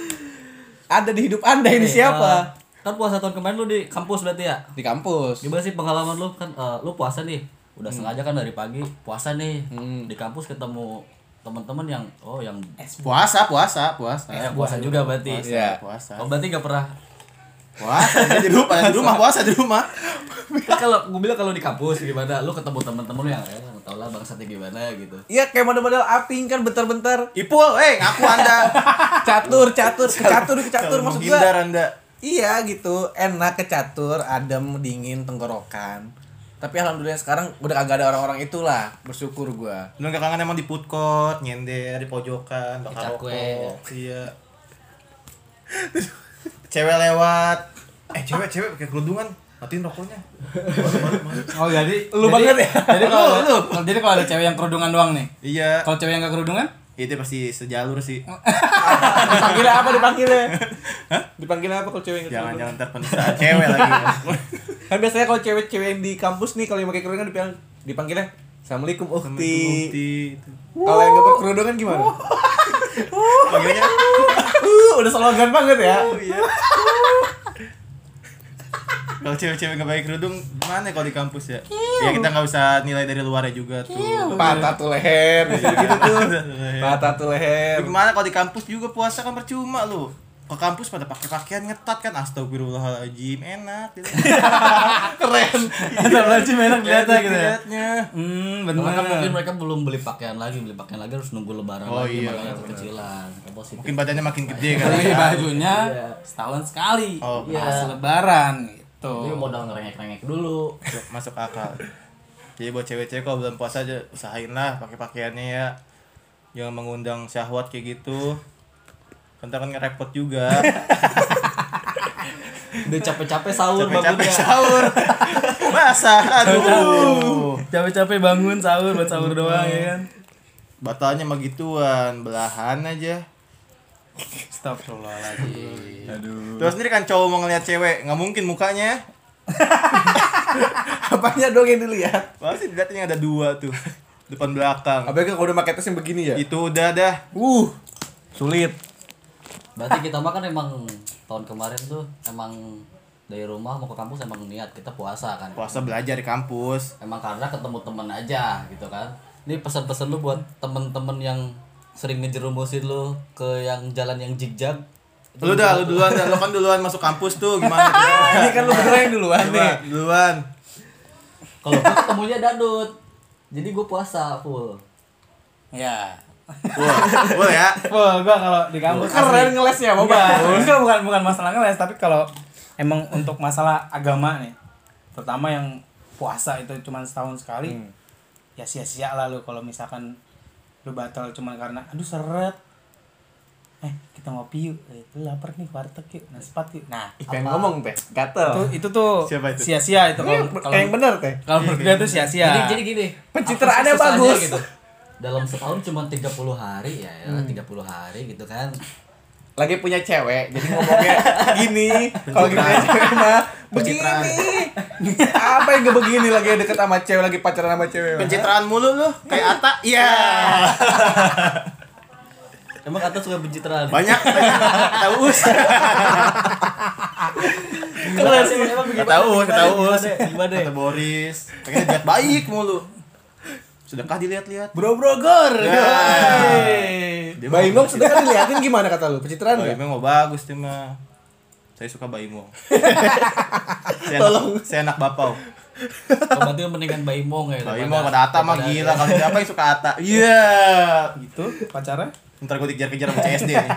Speaker 1: ada di hidup Anda ini
Speaker 3: Eh,
Speaker 1: siapa?
Speaker 3: eh, kan puasa tahun kemarin lu di kampus berarti ya?
Speaker 1: Di kampus.
Speaker 3: Gimana sih pengalaman lu kan eh, lu puasa nih. Udah
Speaker 5: Hmm.
Speaker 3: sengaja kan dari pagi puasa nih. Di kampus ketemu teman-teman yang oh yang
Speaker 5: Puasa, puasa, puasa.
Speaker 3: eh, puasa juga berarti.
Speaker 1: Iya.
Speaker 5: Puasa.
Speaker 3: Oh berarti gak pernah.
Speaker 5: Puasa dia di rumah, di rumah puasa di rumah.
Speaker 3: Kan kalau gue bilang kalau di kampus gimana, lu ketemu teman-teman lu yang ya tau lah bangsatnya gimana gitu.
Speaker 1: Iya kayak model-model aping kan bentar-bentar
Speaker 5: Ipul, eh ngaku Anda.
Speaker 1: catur catur ke catur ke catur maksud
Speaker 5: Menghindar
Speaker 1: gua.
Speaker 5: Anda.
Speaker 1: Iya gitu, enak ke catur, adem, dingin, tenggorokan. Tapi alhamdulillah sekarang udah kagak ada orang-orang itulah, bersyukur gua.
Speaker 5: Lu gak kangen emang di food court, nyender di pojokan, bakar
Speaker 3: Kecak kue.
Speaker 5: rokok. Iya. cewek lewat. Eh, cewek cewek pakai kerudungan. Matiin rokoknya.
Speaker 4: Oh jadi
Speaker 1: Lu
Speaker 4: jadi-
Speaker 1: banget ya?
Speaker 4: Jadi kalau jadi kalau ada cewek yang kerudungan doang nih.
Speaker 5: Iya.
Speaker 4: Kalau cewek yang gak kerudungan?
Speaker 5: Itu pasti sejalur sih.
Speaker 1: Dipanggilnya apa dipanggilnya? Dipanggilnya apa kalau cewek yang
Speaker 5: Jangan jangan terpenistaan cewek lagi.
Speaker 1: Kan biasanya kalau cewek-cewek yang di kampus nih kalau yang pakai kerudungan dipanggil dipanggilnya Assalamualaikum ukti.
Speaker 5: Bukti itu.
Speaker 1: Kalau yang gak berkerudungan gimana?
Speaker 5: Makanya
Speaker 1: Uh, udah slogan banget ya.
Speaker 5: kalau cewek-cewek gak pakai kerudung mana kalau di kampus ya? Ya kita nggak usah nilai dari luarnya juga tuh.
Speaker 1: Patah tuh leher gitu tuh. Patah tuh leher.
Speaker 5: Tapi Gimana kalau di kampus juga puasa kan percuma lu. ke kampus pada pakai pakaian ngetat kan astagfirullahaladzim enak gitu. Iya.
Speaker 4: Ada belanja enak dilihatnya gitu ya.
Speaker 5: Dilihatnya.
Speaker 4: Hmm,
Speaker 3: Karena kan mungkin
Speaker 4: benar.
Speaker 3: mereka belum beli pakaian lagi, beli pakaian lagi harus nunggu lebaran
Speaker 5: Oh
Speaker 3: lagi
Speaker 5: iya,
Speaker 3: makanya
Speaker 5: benar,
Speaker 3: kekecilan. Ke positif. Iya.
Speaker 5: Mungkin badannya makin gede kan.
Speaker 4: Beli bajunya setahun sekali.
Speaker 5: Oh,
Speaker 4: Pas lebaran gitu.
Speaker 3: Tapi modal ngerengek-rengek dulu.
Speaker 5: masuk, masuk akal. Jadi buat cewek-cewek kalau bulan puasa aja usahain lah pakai pakaiannya ya. Jangan mengundang syahwat kayak gitu. Ntar kan ngerepot juga.
Speaker 3: Udah capek-capek sahur
Speaker 5: Capek-capek
Speaker 3: bangunnya.
Speaker 5: sahur. Masa aduh.
Speaker 4: Capek-capek bangun sahur buat sahur doang ya kan.
Speaker 5: Batalnya mah gituan, belahan aja.
Speaker 4: Astagfirullahaladzim.
Speaker 5: Terus sendiri kan cowok mau ngeliat cewek, nggak mungkin mukanya.
Speaker 1: Apanya dong yang dilihat?
Speaker 5: Pasti dilihatnya ada dua tuh. Depan belakang.
Speaker 1: Apalagi kan kalau udah pakai tas yang begini ya?
Speaker 5: Itu udah dah.
Speaker 1: Uh, sulit.
Speaker 3: Berarti kita mah kan emang tahun kemarin tuh emang dari rumah mau ke kampus emang niat kita puasa kan.
Speaker 5: Puasa belajar di kampus.
Speaker 3: Emang karena ketemu temen aja gitu kan. Ini pesan-pesan lu buat temen-temen yang sering ngejerumusin lu ke yang jalan yang zigzag.
Speaker 5: Lu dah, lu duluan dah. Lu kan duluan masuk kampus tuh gimana tuh?
Speaker 1: Ini kan lu berdua yang duluan
Speaker 5: Coba,
Speaker 1: nih.
Speaker 5: duluan.
Speaker 3: Kalau gua ketemunya dadut. Jadi gue puasa full.
Speaker 4: Ya.
Speaker 5: Full, full ya.
Speaker 4: Wah, gua kalau di kampus
Speaker 1: Keren ngelesnya, Boba.
Speaker 4: Bukan, bukan, bukan, bukan masalah ngeles, tapi kalau emang untuk masalah agama nih, terutama yang puasa itu cuma setahun sekali, ya sia-sia lah lu kalau misalkan lu batal cuma karena aduh seret. Eh, kita ngopi yuk. Eh, Itu lapar nih warteg yuk, nasi pat yuk. Nah,
Speaker 1: Pengen ngomong, Teh. Gatel.
Speaker 4: itu, itu tuh
Speaker 5: Siapa itu?
Speaker 4: sia-sia itu kalau
Speaker 1: Kayak
Speaker 4: kalau
Speaker 1: yang bener, Teh.
Speaker 4: kalau menurut gue tuh sia-sia.
Speaker 5: Nah,
Speaker 3: Jadi, jadi gini.
Speaker 1: Pencitraannya
Speaker 3: apa sih susahnya
Speaker 1: bagus.
Speaker 3: Dalam setahun cuma 30 hari ya,
Speaker 5: Hmm.
Speaker 3: ya 30 hari gitu kan.
Speaker 1: Lagi punya cewek, jadi ngomongnya gini. Kalau kita punya cewek mah begini. Apa yang gak begini lagi deket sama cewek, lagi pacaran sama cewek. mah?
Speaker 5: Pencitraan mulu lu kayak Ata. Iya.
Speaker 3: Emang kata suka pencitraan.
Speaker 5: Banyak kata us.
Speaker 3: Gimana sih? Emang begitu?
Speaker 5: Kata us, kata us.
Speaker 3: Gimana deh?
Speaker 5: Kata Boris. Pengen lihat baik mulu. Sedekah dilihat-lihat. Ya.
Speaker 1: Bro bro gor.
Speaker 5: Dia
Speaker 1: Bayi
Speaker 5: mau-
Speaker 1: Nong sudah kan diliatin gimana kata lu? Pencitraan
Speaker 5: Oh,
Speaker 1: nggak?
Speaker 5: emang mau bagus dia mah. Saya suka Baim Wong. saya, enak, saya enak bapau.
Speaker 3: Berarti mendingan Bayi Mong ya.
Speaker 5: Baim
Speaker 3: daripada-
Speaker 5: Wong pada Ata mah
Speaker 3: daripada-
Speaker 5: gila. Kalau siapa yang suka Ata? Iya.
Speaker 4: gitu pacarnya
Speaker 5: Ntar gue dikejar-kejar sama CSD nih.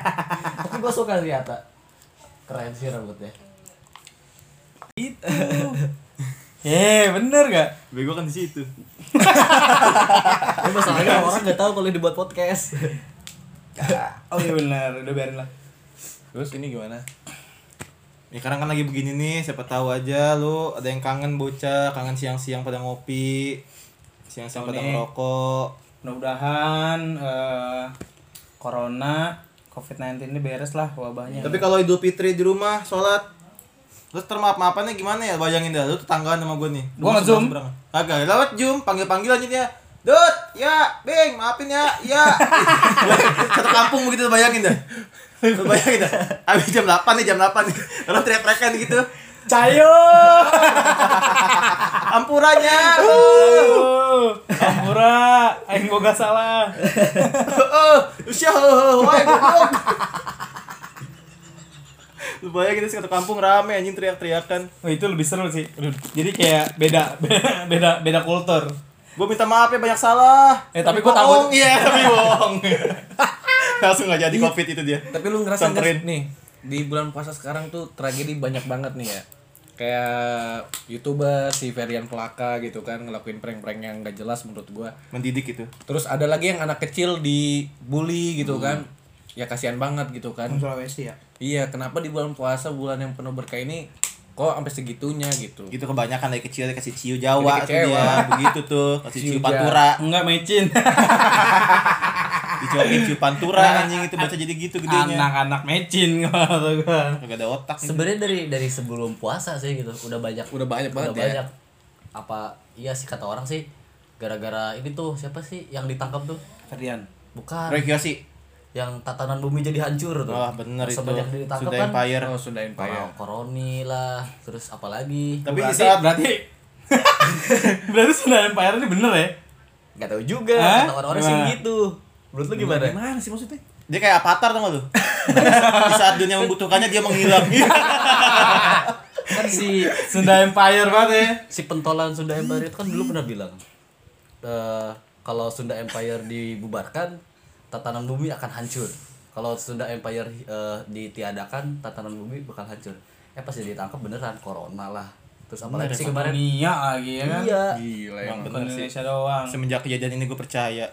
Speaker 3: Tapi gue suka sih Ata. Keren sih rambutnya.
Speaker 4: Eh, bener gak?
Speaker 5: Bego kan di situ.
Speaker 3: Tapi masalahnya orang nggak tahu kalau dibuat podcast.
Speaker 4: Oh iya bener, udah biarin lah.
Speaker 1: Terus ini gimana?
Speaker 5: Ya sekarang kan lagi begini nih, siapa tahu aja lu ada yang kangen bocah, kangen siang-siang pada ngopi, siang-siang pada
Speaker 4: Tahun ini.
Speaker 5: ngerokok.
Speaker 4: Mudah-mudahan eh, corona COVID-19 ini beres lah wabahnya.
Speaker 5: Tapi kalau Idul Fitri di rumah sholat Terus termaaf-maafannya gimana ya? Bayangin dah, lu tetanggaan sama gue nih
Speaker 4: Gua nge-zoom.
Speaker 5: seberang- seberang. Kagak, lewat Zoom, panggil-panggil aja dia Dut, ya, Bing, maafin ya, ya Satu kampung begitu, lu bayangin dah Lu bayangin dah, abis jam 8 nih, jam 8 nih Orang teriak-teriakan gitu
Speaker 4: Cayo!
Speaker 5: Ampurannya
Speaker 4: Uh. Ampura, aing boga salah.
Speaker 5: Oh, usya, woi, goblok Lu bayangin satu kampung rame anjing teriak-teriakan
Speaker 4: Oh, itu lebih seru sih. Aduh, Jadi kayak beda beda beda kultur.
Speaker 5: Gue minta maaf ya banyak salah.
Speaker 4: Eh, tapi gua takut.
Speaker 5: bohong. Iya, tapi bohong. Langsung gak jadi covid itu dia.
Speaker 1: Tapi lu ngerasa nggak
Speaker 5: Samperin.
Speaker 1: sih, nih di bulan puasa sekarang tuh tragedi banyak banget nih ya. Kayak youtuber si Ferian Pelaka gitu kan ngelakuin prank-prank yang gak jelas menurut gua.
Speaker 5: Mendidik gitu. itu.
Speaker 1: Terus ada lagi yang anak kecil dibully gitu kan. Ya kasihan banget gitu kan.
Speaker 4: Hmm. Sulawesi ya.
Speaker 1: Iya, kenapa di bulan puasa bulan yang penuh berkah ini kok sampai segitunya gitu.
Speaker 5: Gitu kebanyakan dari kecil dia kasih ciu Jawa tuh
Speaker 1: Jadi kecewa.
Speaker 5: dia. Begitu tuh, kasih
Speaker 1: Ciu
Speaker 5: ciu
Speaker 1: Jawa.
Speaker 5: pantura.
Speaker 4: Enggak mecin.
Speaker 5: Dicobain ciu pantura anjing itu baca jadi gitu gedenya.
Speaker 4: Anak-anak mecin kalau gua.
Speaker 5: Kagak ada otak. nih.
Speaker 3: Sebenarnya dari dari sebelum puasa sih gitu, udah banyak.
Speaker 1: Udah banyak banget ya.
Speaker 3: banyak. Apa iya sih kata orang sih gara-gara ini tuh siapa sih yang ditangkap tuh?
Speaker 4: Ferdian.
Speaker 3: Bukan.
Speaker 5: Roy Kiyoshi.
Speaker 3: yang tatanan bumi jadi hancur tuh.
Speaker 5: Wah, bener itu.
Speaker 3: Sebanyak ditangkap
Speaker 5: Sudah
Speaker 3: kan.
Speaker 5: empire.
Speaker 1: Oh, Sunda Empire.
Speaker 3: Kalau koroni lah, terus apa lagi?
Speaker 5: Tapi di
Speaker 4: Berarti
Speaker 5: saat
Speaker 4: berarti berarti Sunda Empire ini bener ya?
Speaker 3: Gak tahu juga,
Speaker 4: Hah?
Speaker 3: kata orang-orang sih
Speaker 4: Gimana?
Speaker 3: gitu. Menurut lu gimana?
Speaker 1: Gimana sih maksudnya?
Speaker 5: Dia kayak avatar tau gak lu? Di saat dunia membutuhkannya dia menghilang.
Speaker 3: kan si
Speaker 4: Sunda Empire banget ya.
Speaker 3: si pentolan Sunda Empire itu kan dulu pernah bilang eh, kalau Sunda Empire dibubarkan tatanan bumi akan hancur kalau Sunda Empire eh, ditiadakan tatanan bumi bakal hancur eh pas dia ditangkap beneran corona lah terus apalagi sih kemarin
Speaker 4: Dunia lagi ya kan.
Speaker 3: iya
Speaker 1: Gila
Speaker 5: Emang
Speaker 4: Bukan
Speaker 5: bener sih.
Speaker 4: Indonesia doang.
Speaker 5: Semenjak kejadian ini gue percaya.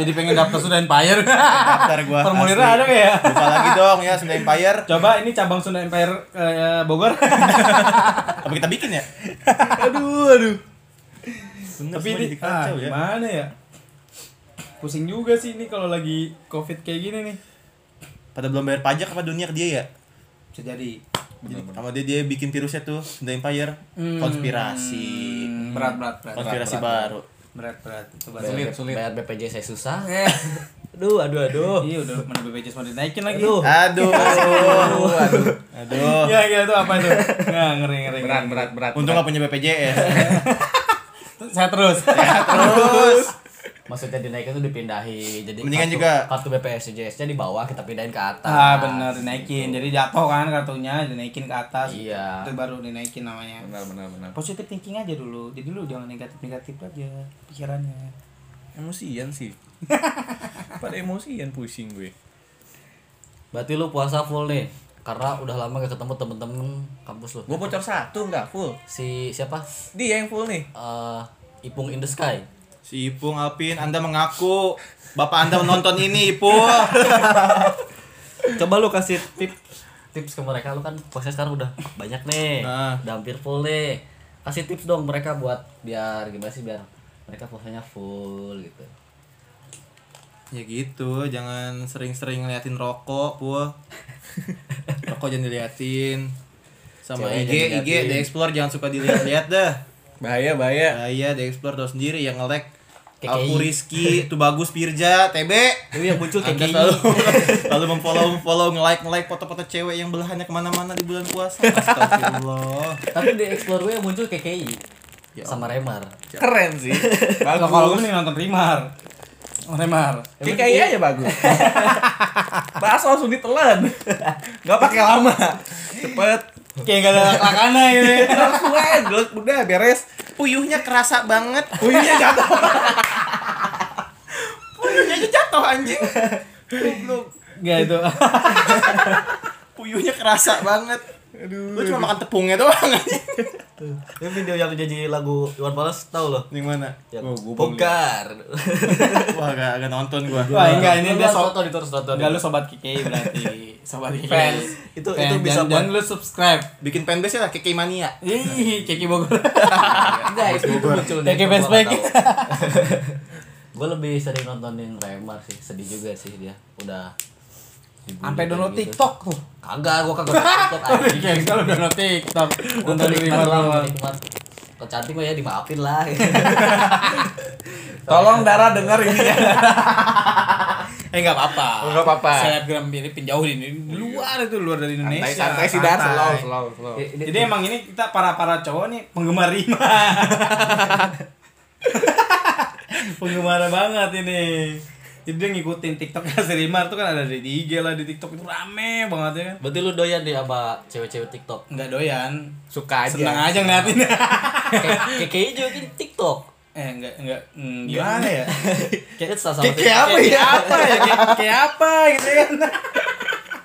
Speaker 4: Jadi pengen daftar Sunda Empire.
Speaker 5: Daftar gue.
Speaker 4: Formulirnya ada nggak ya?
Speaker 5: Buka lagi dong ya Sunda Empire.
Speaker 4: Coba ini cabang Sunda Empire eh, Bogor.
Speaker 5: Apa kita bikin ya?
Speaker 4: aduh, aduh.
Speaker 5: Sunda
Speaker 4: Tapi
Speaker 5: semua
Speaker 4: ini
Speaker 5: jadi kacau
Speaker 4: ah,
Speaker 5: ya.
Speaker 4: gimana ya? Pusing juga sih ini kalau lagi Covid kayak gini nih.
Speaker 5: Pada belum bayar pajak apa dunia ke dia ya?
Speaker 4: Bisa jadi
Speaker 5: Jadi, sama dia dia bikin virusnya tuh Sunda Empire. Konspirasi.
Speaker 4: Hmm. berat berat berat.
Speaker 5: Konspirasi baru.
Speaker 4: Berat berat. Coba
Speaker 3: bayar,
Speaker 4: sulit. Eh.
Speaker 3: bayar BPJS saya susah aduh aduh aduh
Speaker 4: Iya udah mana BPJS mau dinaikin lagi.
Speaker 3: aduh
Speaker 5: Aduh. Aduh. Aduh.
Speaker 4: Ya gitu apa itu? Nah, ngeri ngeri.
Speaker 1: berat
Speaker 4: ngeri.
Speaker 1: berat berat
Speaker 5: Untung gak punya BPJS.
Speaker 4: Saya terus.
Speaker 5: Terus
Speaker 3: maksudnya dinaikin tuh dipindahin jadi
Speaker 5: Mendingan
Speaker 3: kartu-
Speaker 5: juga.
Speaker 3: kartu BPJS nya di bawah kita pindahin ke atas
Speaker 4: ah benar dinaikin. Jadi jatuh kan kartunya dinaikin ke atas.
Speaker 3: Iya.
Speaker 4: Itu baru dinaikin namanya.
Speaker 1: benar benar benar
Speaker 4: Positive thinking aja dulu. Jadi lu jangan negatif negatif aja pikirannya.
Speaker 1: emosian sih pada emosian pusing gue
Speaker 3: Berarti lu puasa full nih karena udah lama gak ketemu temen-temen kampus lu.
Speaker 1: gue bocor satu nggak full
Speaker 3: Si siapa?
Speaker 1: dia yang full nih
Speaker 3: Eh, Ipung in the Sky.
Speaker 5: Si Ipung Alpin, Anda mengaku Bapak Anda menonton ini, Ipung.
Speaker 3: Coba lu kasih tips tips ke mereka lu kan puasanya sekarang udah banyak nih.
Speaker 5: Ah.
Speaker 3: Udah hampir full nih. Kasih tips dong mereka buat biar gimana sih biar mereka puasanya full gitu.
Speaker 5: Ya gitu, jangan sering-sering ngeliatin rokok, Pul. rokok jangan diliatin. Sama
Speaker 3: Cewek
Speaker 5: IG,
Speaker 3: jangan
Speaker 5: IG,
Speaker 3: diliatin.
Speaker 5: di explore jangan suka dilihat-lihat dah.
Speaker 1: bahaya bahaya
Speaker 5: Nah, iya, di explore tau sendiri yang nge-lag.
Speaker 3: KKI.
Speaker 5: Aku Rizky, tuh bagus Pirja, TB.
Speaker 3: Itu yang muncul kayak
Speaker 5: Anda
Speaker 3: gini.
Speaker 5: selalu lalu memfollow follow nge-like nge-like foto-foto cewek yang belahannya kemana-mana di bulan puasa. Astagfirullah.
Speaker 3: Tapi di explore gue yang muncul KKI. sama Remar.
Speaker 1: keren sih
Speaker 4: Kalau kalau gue nih nonton Rimar. Oh, Rimar.
Speaker 1: Kayak kayak aja bagus. Bahas langsung ditelan. Gak pakai lama. Cepet.
Speaker 4: Kayak gak ada lakana gitu. ya.
Speaker 1: Langsung aja. Gelek, Udah beres.
Speaker 5: Puyuhnya kerasa banget.
Speaker 1: Puyuhnya jatuh.
Speaker 5: Puyuhnya aja jatuh anjing. Goblok.
Speaker 4: Gak itu.
Speaker 5: Puyuhnya kerasa banget. Aduh. Lu cuma makan tepungnya doang anjing.
Speaker 3: Ini video yang jadi lagu Iwan Fals tau loh.
Speaker 5: Yang mana?
Speaker 3: Yang
Speaker 1: Oh, gua belum
Speaker 3: Bongkar.
Speaker 5: Wah, agak, agak nonton gua.
Speaker 4: Wah, enggak ini
Speaker 3: Lu
Speaker 4: dia
Speaker 3: harus
Speaker 4: so
Speaker 3: nonton itu harus nonton.
Speaker 4: Enggak lu sobat KKI berarti. Sobat KKI.
Speaker 3: Fans. Itu- itu
Speaker 4: Fans.
Speaker 3: bisa Iya,
Speaker 4: Dan- dan lu subscribe.
Speaker 5: Bikin fanbase lah Keke Mania.
Speaker 4: Ih, KKI Bogor.
Speaker 3: Enggak, itu muncul
Speaker 4: Kayak best back.
Speaker 3: Gue lebih sering nontonin Remar sih, sedih juga sih dia. Udah dibully
Speaker 4: Sampai
Speaker 3: kayak
Speaker 4: download
Speaker 3: gitu.
Speaker 4: TikTok tuh.
Speaker 3: Kagak, gue kagak download TikTok anjing.
Speaker 4: Kayak gitu. kalau download TikTok.
Speaker 3: Gue
Speaker 4: Nonton Rimar lawan.
Speaker 3: Kalau cantik mah ya dimaafin lah.
Speaker 1: Tolong Dara denger ini ya.
Speaker 4: Eh enggak apa-apa.
Speaker 1: Enggak apa-apa.
Speaker 4: Selebgram ini pinjauhin ini di luar itu luar dari Indonesia.
Speaker 1: Santai-santai sih Dara.
Speaker 4: Santai.
Speaker 1: Slow, slow, slow.
Speaker 3: Ini- ini-
Speaker 4: Jadi emang ini kita para-para cowok nih penggemar Rima. penggemar banget ini. Jadi dia ngikutin TikTok si Rima tuh kan ada di IG lah di TikTok itu rame banget ya kan.
Speaker 3: Berarti lu doyan deh sama cewek-cewek TikTok.
Speaker 4: Enggak doyan.
Speaker 1: Suka aja.
Speaker 4: Seneng aja ngeliatin.
Speaker 3: Kayak kayak juga bikin TikTok.
Speaker 4: eh enggak enggak mm, gimana ya?
Speaker 3: Kayak sama
Speaker 1: Kayak apa ya?
Speaker 4: apa ya? Kayak, kayak apa gitu kan.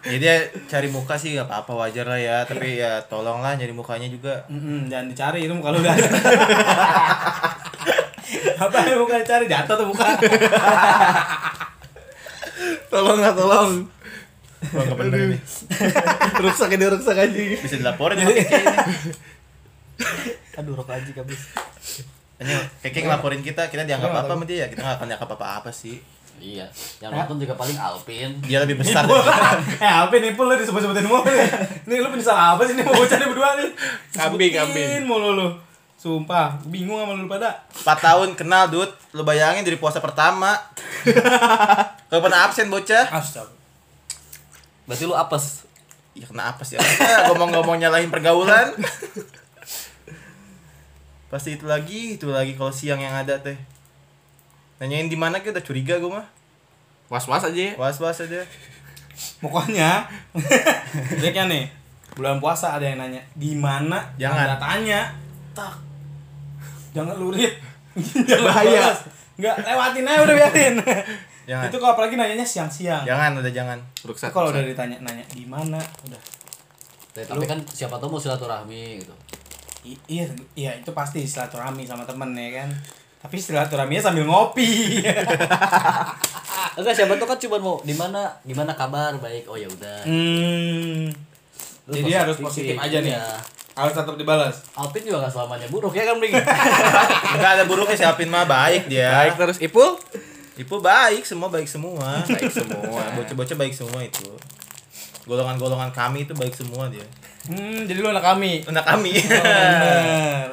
Speaker 5: Ya dia cari muka sih gak apa-apa wajar lah ya, tapi ya tolonglah nyari mukanya juga.
Speaker 4: Mm-mm, jangan dicari itu muka lu udah. ada. apa ya bukan dicari jatuh tuh bukan.
Speaker 1: Tolong nggak tolong.
Speaker 5: Wah, gak bener ini.
Speaker 1: Rusak ini rusak aja.
Speaker 5: Bisa dilaporin sama Keke ini.
Speaker 3: Aduh, rokok anjing habis.
Speaker 5: Hanya Keke ngelaporin kita, kita dianggap apa sama dia ya? Kita gak akan dianggap apa-apa sih.
Speaker 3: Iya, yang nonton juga paling Alvin.
Speaker 5: Dia lebih besar.
Speaker 4: Nipul. eh apa nih pul lu disebut-sebutin mulu nih. Nih lu penyesal apa sih nih mau bocah nih berdua nih?
Speaker 1: Kambing,
Speaker 4: Sebutin
Speaker 1: kambing.
Speaker 4: mulu lu. Sumpah, bingung sama lu pada.
Speaker 5: 4 tahun kenal, Dut. Lu bayangin dari puasa pertama. Kalau pernah absen bocah.
Speaker 4: Astaga.
Speaker 3: Berarti lu apes.
Speaker 5: Ya kena apa sih? Ya, Ngomong-ngomong nyalahin pergaulan. Pasti itu lagi, itu lagi kalau siang yang ada teh. Nanyain di mana kita udah curiga gue mah.
Speaker 1: Was-was aja ya.
Speaker 5: Was-was aja.
Speaker 4: Pokoknya Lihatnya nih Bulan puasa ada yang nanya Gimana Tanda
Speaker 5: Jangan.
Speaker 4: tanya Tak Jangan lurit bahaya
Speaker 5: Bahaya.
Speaker 4: Enggak lewatin aja udah biarin
Speaker 5: Jangan.
Speaker 4: Itu kalau apalagi nanyanya siang-siang
Speaker 5: Jangan udah jangan.
Speaker 4: Itu Kalau udah ditanya Nanya gimana Udah
Speaker 3: Tapi- tapi kan siapa tahu mau silaturahmi gitu
Speaker 4: I- iya iya itu pasti silaturahmi sama temen ya kan tapi silaturahminya sambil ngopi
Speaker 3: enggak siapa tahu kan cuma mau di mana gimana kabar baik oh ya udah
Speaker 4: hmm,
Speaker 3: Terus
Speaker 4: jadi harus positif aja nih
Speaker 3: Iya.
Speaker 4: harus tetap dibalas
Speaker 3: Alvin juga gak selamanya buruk ya kan Bing?
Speaker 5: Enggak ada buruknya si Alvin mah baik dia.
Speaker 1: Baik terus Ipul.
Speaker 5: Ibu baik semua baik semua. Baik semua. Bocah-bocah baik semua itu. Golongan-golongan kami itu baik semua dia.
Speaker 4: hmm, jadi lu anak kami
Speaker 5: Anak kami. Iya.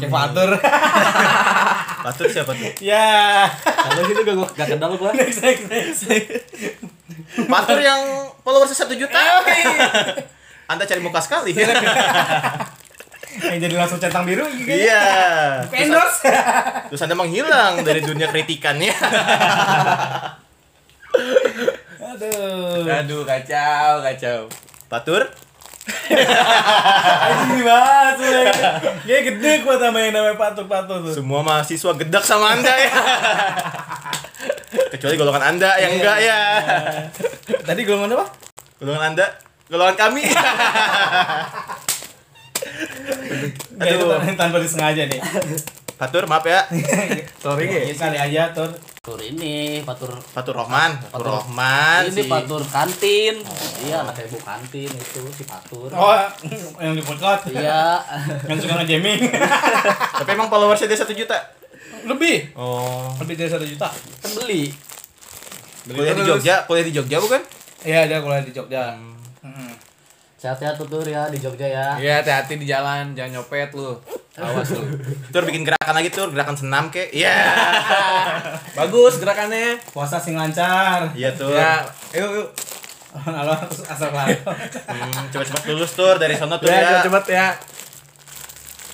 Speaker 4: bener Oh,
Speaker 5: Kami.
Speaker 4: kayak Fatur
Speaker 5: Fatur siapa tuh?
Speaker 4: ya
Speaker 3: Kalau gitu gak, gak kenal gua
Speaker 4: next next next
Speaker 5: Fatur yang followersnya 1 juta.
Speaker 4: Iya.
Speaker 5: Anda cari muka sekali.
Speaker 4: yang jadi langsung centang biru gitu
Speaker 5: Iya.
Speaker 4: endorse
Speaker 5: Terus Anda menghilang dari dunia kritikannya.
Speaker 4: aduh
Speaker 1: Aduh kacau kacau.
Speaker 5: Fatur,
Speaker 4: ini banget woy. dia gede gua sama yang namanya patur patur tuh
Speaker 5: semua mahasiswa gedak sama Anda ya. Kecuali golongan Anda yang enggak ya.
Speaker 4: Iya. tadi golongan apa
Speaker 5: Golongan Anda, golongan kami.
Speaker 4: Nggak, itu
Speaker 5: Aduh.
Speaker 4: tan- gitu, tanpa disengaja nih
Speaker 5: Fatur, maaf ya.
Speaker 4: sorry ya kali aja tur
Speaker 3: Patur ini, patur
Speaker 5: Fatur Rohman, Fatur
Speaker 3: Fatur.
Speaker 5: Rohman. si-
Speaker 3: ini patur kantin. Iya, anak ibu kantin itu si patur.
Speaker 4: oh yang di podcast
Speaker 3: Iya.
Speaker 4: yang suka ngejamming
Speaker 5: Tapi emang followersnya dia 1 juta.
Speaker 4: lebih
Speaker 5: Oh.
Speaker 4: lebih dari satu juta
Speaker 3: Kan beli.
Speaker 5: Kuliah di Jogja, kuliah di Jogja bukan?
Speaker 4: iya dia kuliah di Jogja Mm.
Speaker 3: Sehat-sehat tutur ya di Jogja ya.
Speaker 1: Hmm. Iya hati-hati di jalan jangan nyopet lu. Awas lu.
Speaker 5: Tur bikin gerakan lagi tur, gerakan senam kek. Iya.
Speaker 1: Bagus gerakannya.
Speaker 4: puasa sing lancar
Speaker 5: Iya tur.
Speaker 1: Ya, yuk yuk.
Speaker 4: alon alon asal kelar
Speaker 5: Hmm, cepat-cepat lulus tur dari sono tur ya.
Speaker 1: Ya, cepet ya.